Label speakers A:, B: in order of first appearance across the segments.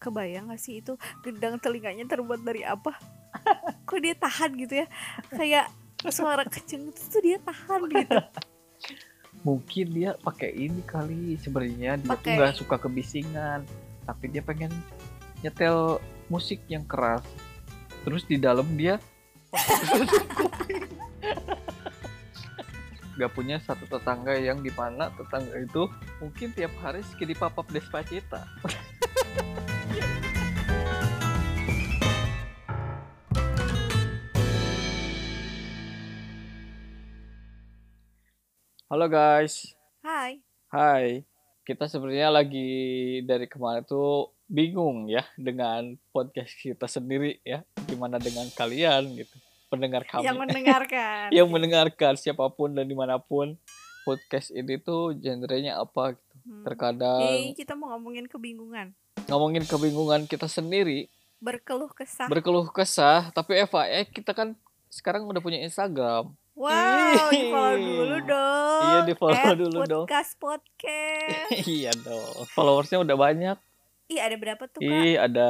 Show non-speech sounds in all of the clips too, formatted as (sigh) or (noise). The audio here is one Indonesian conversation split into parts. A: kebayang gak sih itu gendang telinganya terbuat dari
B: (laughs)
A: apa kok dia tahan gitu ya kayak suara kenceng itu tuh dia tahan gitu
B: mungkin dia pakai ini kali sebenarnya dia tuh
A: Pakai-
B: nggak suka kebisingan tapi dia pengen nyetel musik yang keras terus di dalam dia nggak punya satu tetangga yang di mana tetangga itu mungkin tiap hari sekali papap despacita halo guys
A: hai
B: Hai, kita sebenarnya lagi dari kemarin tuh bingung ya dengan podcast kita sendiri ya. Gimana dengan kalian gitu, pendengar kami
A: yang
B: (laughs)
A: mendengarkan
B: yang mendengarkan siapapun dan dimanapun podcast ini tuh genrenya apa gitu.
A: Hmm. Jadi
B: Terkadang
A: kita mau ngomongin kebingungan
B: ngomongin kebingungan kita sendiri,
A: berkeluh kesah
B: berkeluh kesah, tapi Eva eh kita kan sekarang udah punya
A: (laughs)
B: Instagram.
A: wow di follow dulu dong
B: Iya, di follow
A: At
B: dulu dong.
A: podcast
B: (laughs)
A: podcast
B: iya dong. Followersnya udah banyak.
A: ih ada berapa tuh kak
B: Ih, ada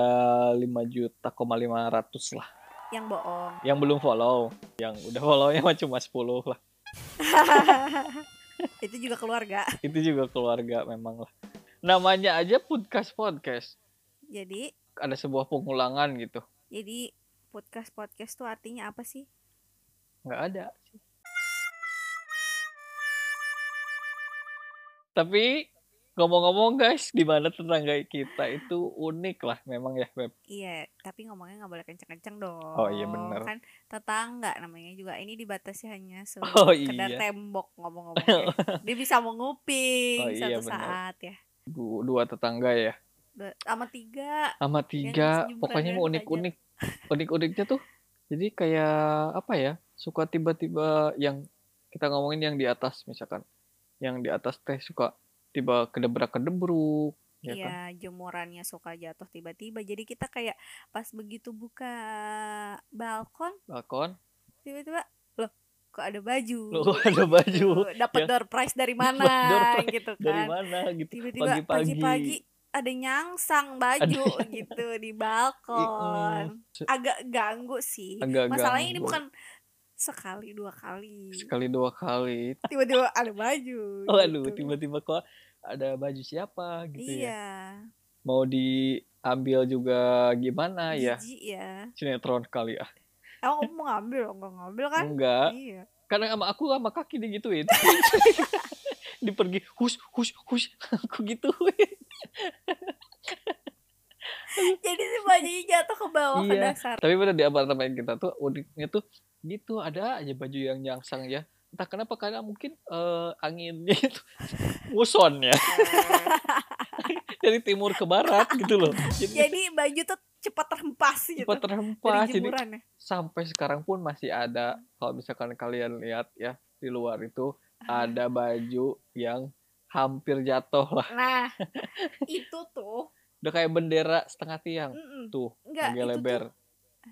B: 5 juta koma 500 lah.
A: yang bohong
B: yang belum follow yang udah follownya mah cuma 10 lah (laughs)
A: itu juga keluarga (laughs)
B: itu juga keluarga memang lah namanya aja podcast podcast
A: jadi
B: ada sebuah pengulangan gitu
A: jadi podcast podcast tuh artinya apa sih
B: nggak ada tapi ngomong-ngomong guys di mana tetangga kita itu unik lah memang ya Beb.
A: Iya, tapi ngomongnya nggak boleh kenceng-kenceng dong.
B: Oh, iya, bener.
A: Kan tetangga namanya juga. Ini dibatasi hanya sekedar
B: (laughs) oh iya
A: tembok
B: (laughs)
A: ngomong-ngomong. Dia bisa menguping
B: Oh, iya,
A: satu
B: bener.
A: saat ya.
B: Du- dua tetangga ya
A: Dua- Sama tiga.
B: sama tiga
A: Iya, senyum
B: pokoknya mau
A: keren-keren
B: unik unik unik uniknya tuh jadi kayak apa ya suka tiba-tiba yang kita ngomongin yang di atas misalkan yang di atas teh suka tiba kedebrak kedebruk ya kan
A: Iya, jemurannya suka jatuh tiba-tiba. Jadi kita kayak pas begitu buka balkon, (laughs)
B: balkon
A: tiba-tiba loh kok ada baju. Gitu.
B: lu ada (laughs) baju
A: Dapat
B: Ya.
A: door prize dari
B: (laughs) Dapat
A: mana
B: door prize
A: gitu kan.
B: dari mana gitu
A: tiba-tiba
B: Pagi-pagi.
A: pagi-pagi ada nyangsang baju gitu di balkon agak ganggu sih Iya.
B: agak
A: masalahnya ini
B: ganggu.
A: bukan sekali dua kali
B: sekali dua kali
A: tiba-tiba ada baju
B: (laughs) waduh
A: gitu.
B: tiba-tiba ya. kok ada baju siapa gitu ya
A: iya
B: mau diambil juga gimana ya
A: jijik ya
B: sinetron kali ah
A: emang kamu mau ngambil enggak ngambil kan
B: enggak
A: iya (laughs)
B: karena sama aku sama kaki digituin dipergi hus hus hus (laughs) aku gituin
A: jadi si bajunya jatuh ke bawah ke
B: Iya. (laughs)
A: dasar
B: tapi bener di apartemen kita tuh uniknya tuh gitu ada aja baju yang nyangsang ya entah kenapa karena mungkin eh, anginnya itu (laughs) muson ya dari timur ke barat gitu
A: (laughs)
B: loh jadi
A: jadi baju tuh cepat terhempas gitu
B: cepat terhempas
A: dari
B: jadi
A: jemuran ya
B: sampai sekarang pun masih ada kalau misalkan kalian lihat ya di luar itu
A: Ah.
B: ada baju yang hampir jatuh lah (laughs)
A: nah itu tuh
B: udah kayak bendera setengah tiang
A: mm-mm.
B: tuh
A: Hmm. enggak
B: agak
A: itu tuh
B: lebar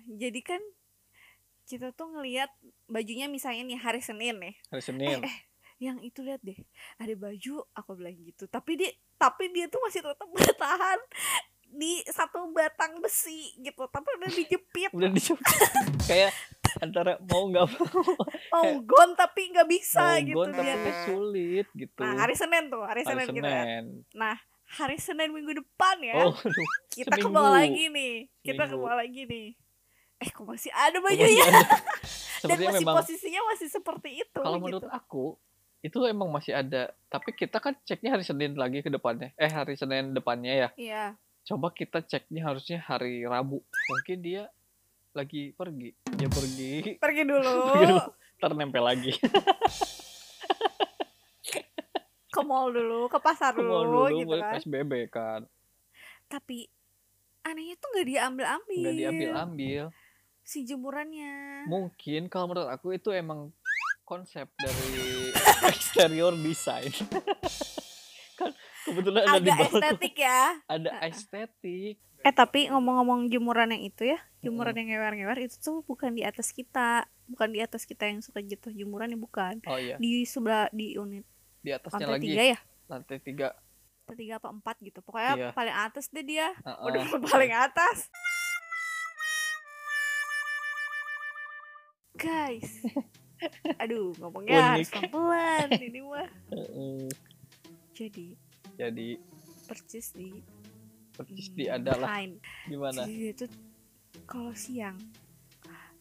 A: jadi kan kita tuh ngelihat bajunya misalnya nih hari Senin nih
B: hari Senin
A: eh, yang itu lihat deh ada baju aku bilang gitu tapi dia tapi dia tuh masih tetap (laughs) bertahan di satu batang besi gitu tapi udah dijepit
B: udah dicopot kayak antara mau nggak mau
A: (laughs) mau gon tapi nggak bisa gitu
B: gon tapi
A: dia tuh.
B: sulit gitu
A: nah hari Senin tuh hari Senin,
B: Hari
A: gitu ya. hari Senin minggu depan ya
B: oh aduh,
A: kita ke bawah
B: seminggu.
A: lagi nih kita ke
B: Seminggu. Oh,
A: bawah lagi nih eh kok masih ada
B: masih
A: bajunya
B: ada.
A: ya. (laughs) dan
B: sebenarnya
A: masih
B: memang
A: posisinya masih seperti itu
B: kalau
A: gitu.
B: menurut aku itu emang masih ada tapi kita kan ceknya hari Senin lagi ke depannya eh hari Senin depannya ya
A: iya
B: coba kita ceknya harusnya hari Rabu mungkin dia lagi pergi dia pergi (laughs)
A: pergi
B: Pergi
A: dulu
B: dulu. ternempel lagi
A: ke mall dulu ke pasar
B: ke
A: dulu,
B: mall dulu
A: gitu kan
B: PSBB kan
A: tapi anehnya tuh nggak diambil ambil
B: nggak diambil ambil
A: si jemurannya
B: Mungkin kalau menurut aku itu emang konsep dari (laughs) exterior design. (laughs) kan kebetulan ada di
A: agak
B: balkon,
A: estetik ya
B: ada estetik.
A: eh tapi ngomong-ngomong jemuran yang itu ya jemuran yang ngewer-ngewer itu tuh bukan di atas kita bukan di atas kita yang suka jatuh jemuran ya bukan
B: Oh iya,
A: di sebelah di unit
B: di atasnya
A: lantai
B: lagi
A: tiga ya
B: lantai tiga.
A: ketiga apa empat gitu pokoknya
B: Iya.
A: paling atas deh dia
B: Heeh.
A: udah (laughs) paling atas guys aduh ngomongnya harus
B: Unik.
A: pelan ini mah
B: Heeh.
A: jadi
B: jadi
A: percis di
B: persis
A: hmm,
B: di ada lah
A: behind.
B: gimana
A: jadi dia tuh Iya, kalau siang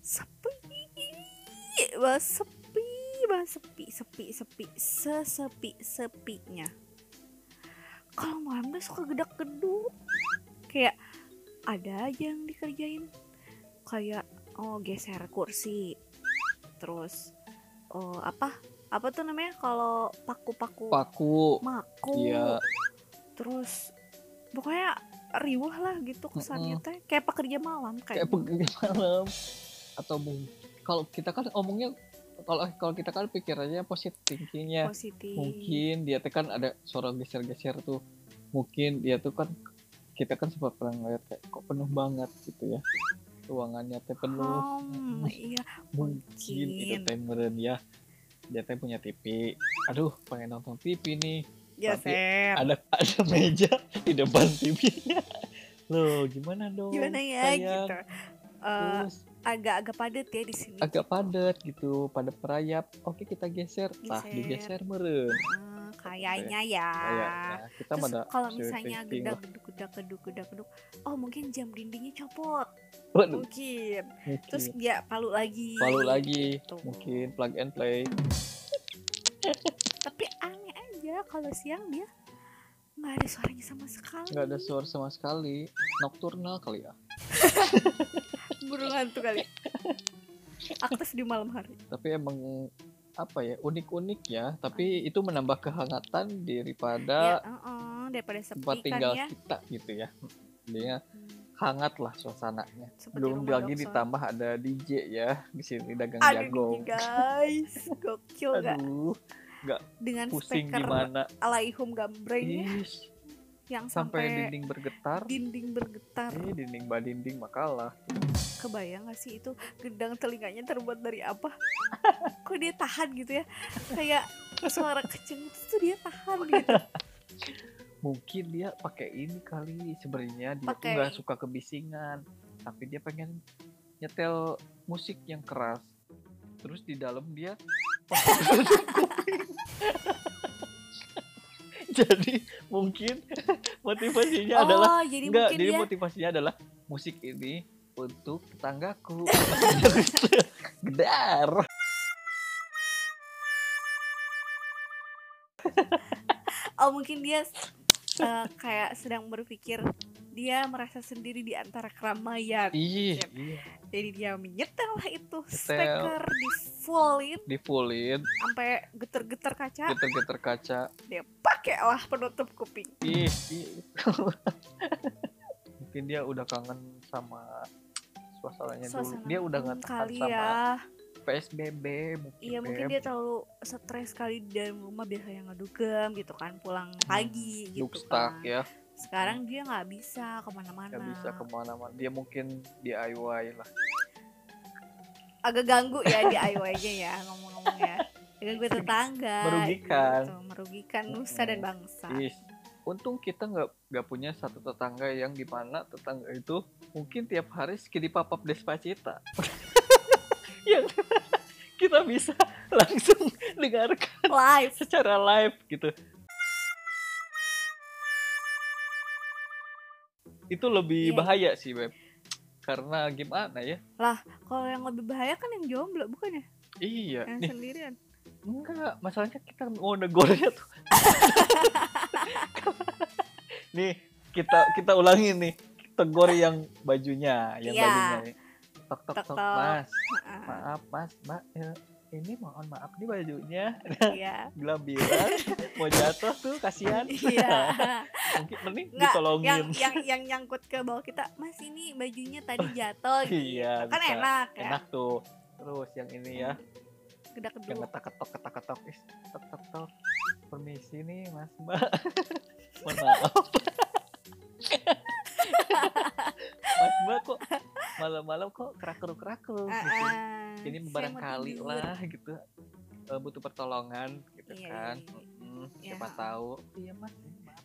A: sepi banget sepi banget sepi sepi sepi sesepi sepinya kalau malam dia suka gedak geduk kayak ada aja yang dikerjain kayak oh geser kursi terus oh apa apa tuh namanya kalau paku-paku
B: paku
A: maku
B: Iya.
A: terus pokoknya riuh lah gitu kesannya teh kayak pekerja malam kayak,
B: kayak pekerja malam atau mungkin kalau kita kan omongnya kalau kalau kita kan pikirannya positif thinkingnya
A: positif
B: ya, mungkin dia tuh kan ada suara geser-geser tuh mungkin dia tuh kan kita kan sempat pernah ngeliat kayak kok penuh banget gitu ya ruangannya teh penuh
A: Hmm, iya
B: mungkin itu
A: mungkin.
B: teh meren ya dia teh punya TV aduh pengen nonton TV nih
A: Ya, geser
B: ada ada meja di depan TV-nya (laughs) loh gimana dong
A: gimana ya
B: sayang?
A: gitu Eh,
B: terus
A: agak-agak padat ya di sini
B: agak padat gitu pada perayap oke kita geser tah
A: Geser.
B: digeser meren
A: Eh, kayaknya ya
B: kayaknya kita
A: Terus
B: pada
A: kalau
B: positive
A: misalnya
B: thinking lah.
A: gedak geduk gedak geduk gedak geduk oh mungkin jam dindingnya copot
B: Waduh,
A: mungkin
B: mungkin.
A: terus dia palu lagi
B: Iya. palu lagi
A: Gitu.
B: mungkin plug and play
A: tapi aneh aja kalau siang dia nggak ada suaranya sama sekali
B: nggak ada suara sama sekali nocturnal kali ya
A: burung hantu (laughs) kali aktif di malam hari
B: tapi emang apa ya unik-unik ya tapi itu menambah kehangatan
A: ya
B: daripada
A: heeh, daripada
B: tempat
A: sepi kan
B: tinggal
A: ya
B: kita gitu ya dia
A: Hmm,
B: hangat lah suasananya
A: seperti
B: belum
A: rumah
B: lagi
A: dokter.
B: ditambah ada DJ ya di sini dagang
A: Aduh,
B: jagung
A: ini guys gokil nggak
B: aduh
A: dengan
B: pusing
A: speaker
B: gimana
A: alaihum gambreng
B: Ish,
A: yang
B: sampai
A: sampai,
B: dinding bergetar
A: dinding bergetar
B: Ih, dinding bah dinding makalah
A: kebayang gak sih itu gendang telinganya terbuat dari
B: (laughs)
A: apa kok dia tahan gitu ya kayak suara kenceng itu tuh dia tahan gitu
B: mungkin dia pakai ini kali sebenarnya dia tuh
A: Pakai-
B: nggak suka kebisingan tapi dia pengen nyetel musik yang keras terus di dalam
A: (laughs)
B: dia kuping. jadi mungkin motivasinya adalah
A: oh jadi
B: enggak
A: mungkin
B: jadi
A: dia
B: motivasinya adalah musik ini untuk
A: (laughs)
B: tetanggaku gedar
A: Oh mungkin dia eh, kayak sedang berpikir dia merasa sendiri di antara keramaian.
B: Ih,
A: Siap.
B: iya
A: Jadi dia menyetel lah itu
B: Setel.
A: speaker di fullin
B: di fullin
A: Nah. sampai geter-geter kaca.
B: geter-geter kaca
A: Dia pakai lah penutup kuping.
B: Ih, ih. (laughs) mungkin dia udah kangen sama suasananya dulu.
A: Suasana
B: Dia udah
A: pun
B: nggak tahan
A: kali
B: sama
A: ya.
B: PSBB mungkin.
A: Iya mungkin dia terlalu stres kali di dalam rumah biasanya ngedugem gitu kan pulang pagi gitu
B: Hmm, stuck
A: kan.
B: ya,
A: Sekarang dia nggak bisa kemana-mana.
B: nggak bisa kemana-mana. Dia mungkin DIY lah.
A: agak ganggu ya DIY-nya ya ngomong-ngomong ya. Ganggu tetangga.
B: Merugikan. Iya.
A: gitu. Merugikan nusa dan bangsa.
B: Ih, untung kita nggak nggak punya satu tetangga yang di mana tetangga itu mungkin tiap hari skidi papap
A: (laughs)
B: despacita. yang kita bisa langsung dengarkan
A: Live.
B: secara live gitu. Itu lebih
A: Iya.
B: bahaya sih, Beb. Karena gimana ya?
A: Kalau yang lebih bahaya kan yang jomblo bukan ya?
B: Iya,
A: Yang
B: nih
A: sendirian.
B: enggak, masalahnya kita mau negornya tuh. nih, kita kita ulangi nih. Tegor yang bajunya, yang
A: Iya.
B: bajunya nih. Tok tok
A: Tok,
B: tok,
A: tok.
B: Mas.
A: Heeh,
B: Maaf, Mas, Mbak. Eh, Ini mohon maaf nih bajunya
A: Iya.
B: gelabiran
A: (laughs)
B: mau jatuh tuh kasihan
A: Iya.
B: (laughs) mungkin mending
A: Nggak,
B: ditolongin
A: yang yang yang nyangkut ke bawah kita, Mas ini bajunya tadi jatuh. gitu.
B: (laughs) Iya,
A: Kan Hmm.
B: bisa.
A: enak ya.
B: enak tuh terus yang ini ya
A: Gedak
B: yang
A: kedua.
B: ketak ketok ketak ketok is tok tok tok permisi nih mas
A: (laughs)
B: mbak mohon maaf (laughs) mas mbak kok malam-malam kok kerakeru
A: Ah,
B: kerakeru gitu ini barangkali
A: Nah,
B: lah gitu eh, butuh pertolongan gitu
A: Iya,
B: kan
A: iya, iya.
B: Mm,
A: Iya,
B: siapa
A: ha-ha.
B: tahu iya mas ini maaf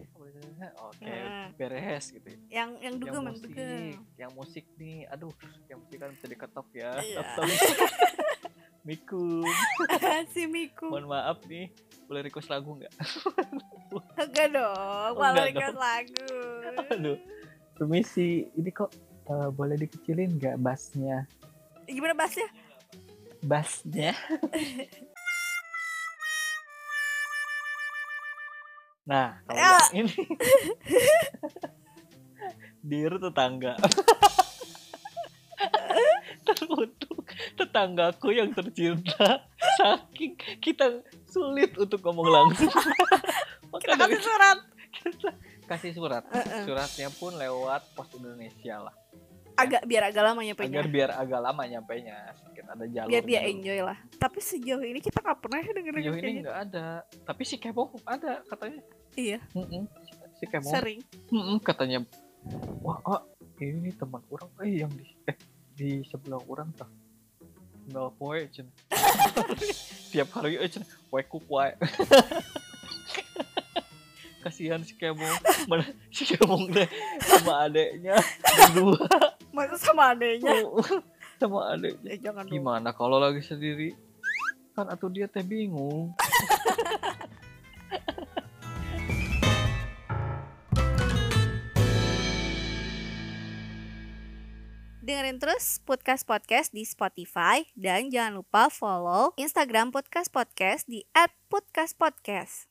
B: Oke,
A: Nah.
B: beres gitu. ya.
A: yang yang dugem yang
B: yang musik,
A: dugem
B: (laughs)
A: (laughs)
B: yang musik nih. Aduh, yang musik kan bisa diketok ya.
A: Iya.
B: Ketok. Miku,
A: si Miku
B: mohon maaf nih. Boleh request lagu nggak?
A: enggak dong
B: Oh,
A: malah
B: enggak
A: request lagu
B: Aduh. Permisi, ini kok eh, boleh dikecilin nggak bassnya?
A: gimana bahasnya
B: Bassnya? nah, kalau
A: Ya.
B: yang ini. Dear tetangga. Teruntuk tetanggaku yang tercinta. Saking kita sulit untuk ngomong langsung.
A: (laughs) kita
B: Maka dari
A: kasih surat
B: kasih surat.
A: Heeh.
B: Suratnya pun lewat Pos Indonesia lah.
A: agak biar agak lama nyampe
B: Agar biar agak lama nyampainya. Sedikit ada jalur.
A: biar dia enjoy lah tapi sejauh ini kita nggak pernah denger
B: Sejauh
A: kayak
B: ini
A: gitu
B: nggak ada. Tapi si Kebo ada katanya.
A: iya
B: Mm-mm. Si Kebo
A: sering
B: mm-mm, katanya. Wah, ah, ini teman orang eh yang di eh, di sebelah orang tuh. Nggak poe
A: (laughs)
B: cen. Tiap hari eh cen, poe ku poe. (laughs) Kasihan si Kebo. Mana si Kebo teh sama adeknya
A: (laughs)
B: berdua.
A: masa sama adanya
B: sama adeknya.
A: eh, jangan dong
B: Oh, Gimana kalau lagi sendiri? Kan atau dia teh bingung.
A: Dengerin terus podcast podcast di Spotify dan jangan lupa follow Instagram podcast podcast di @podcastpodcast.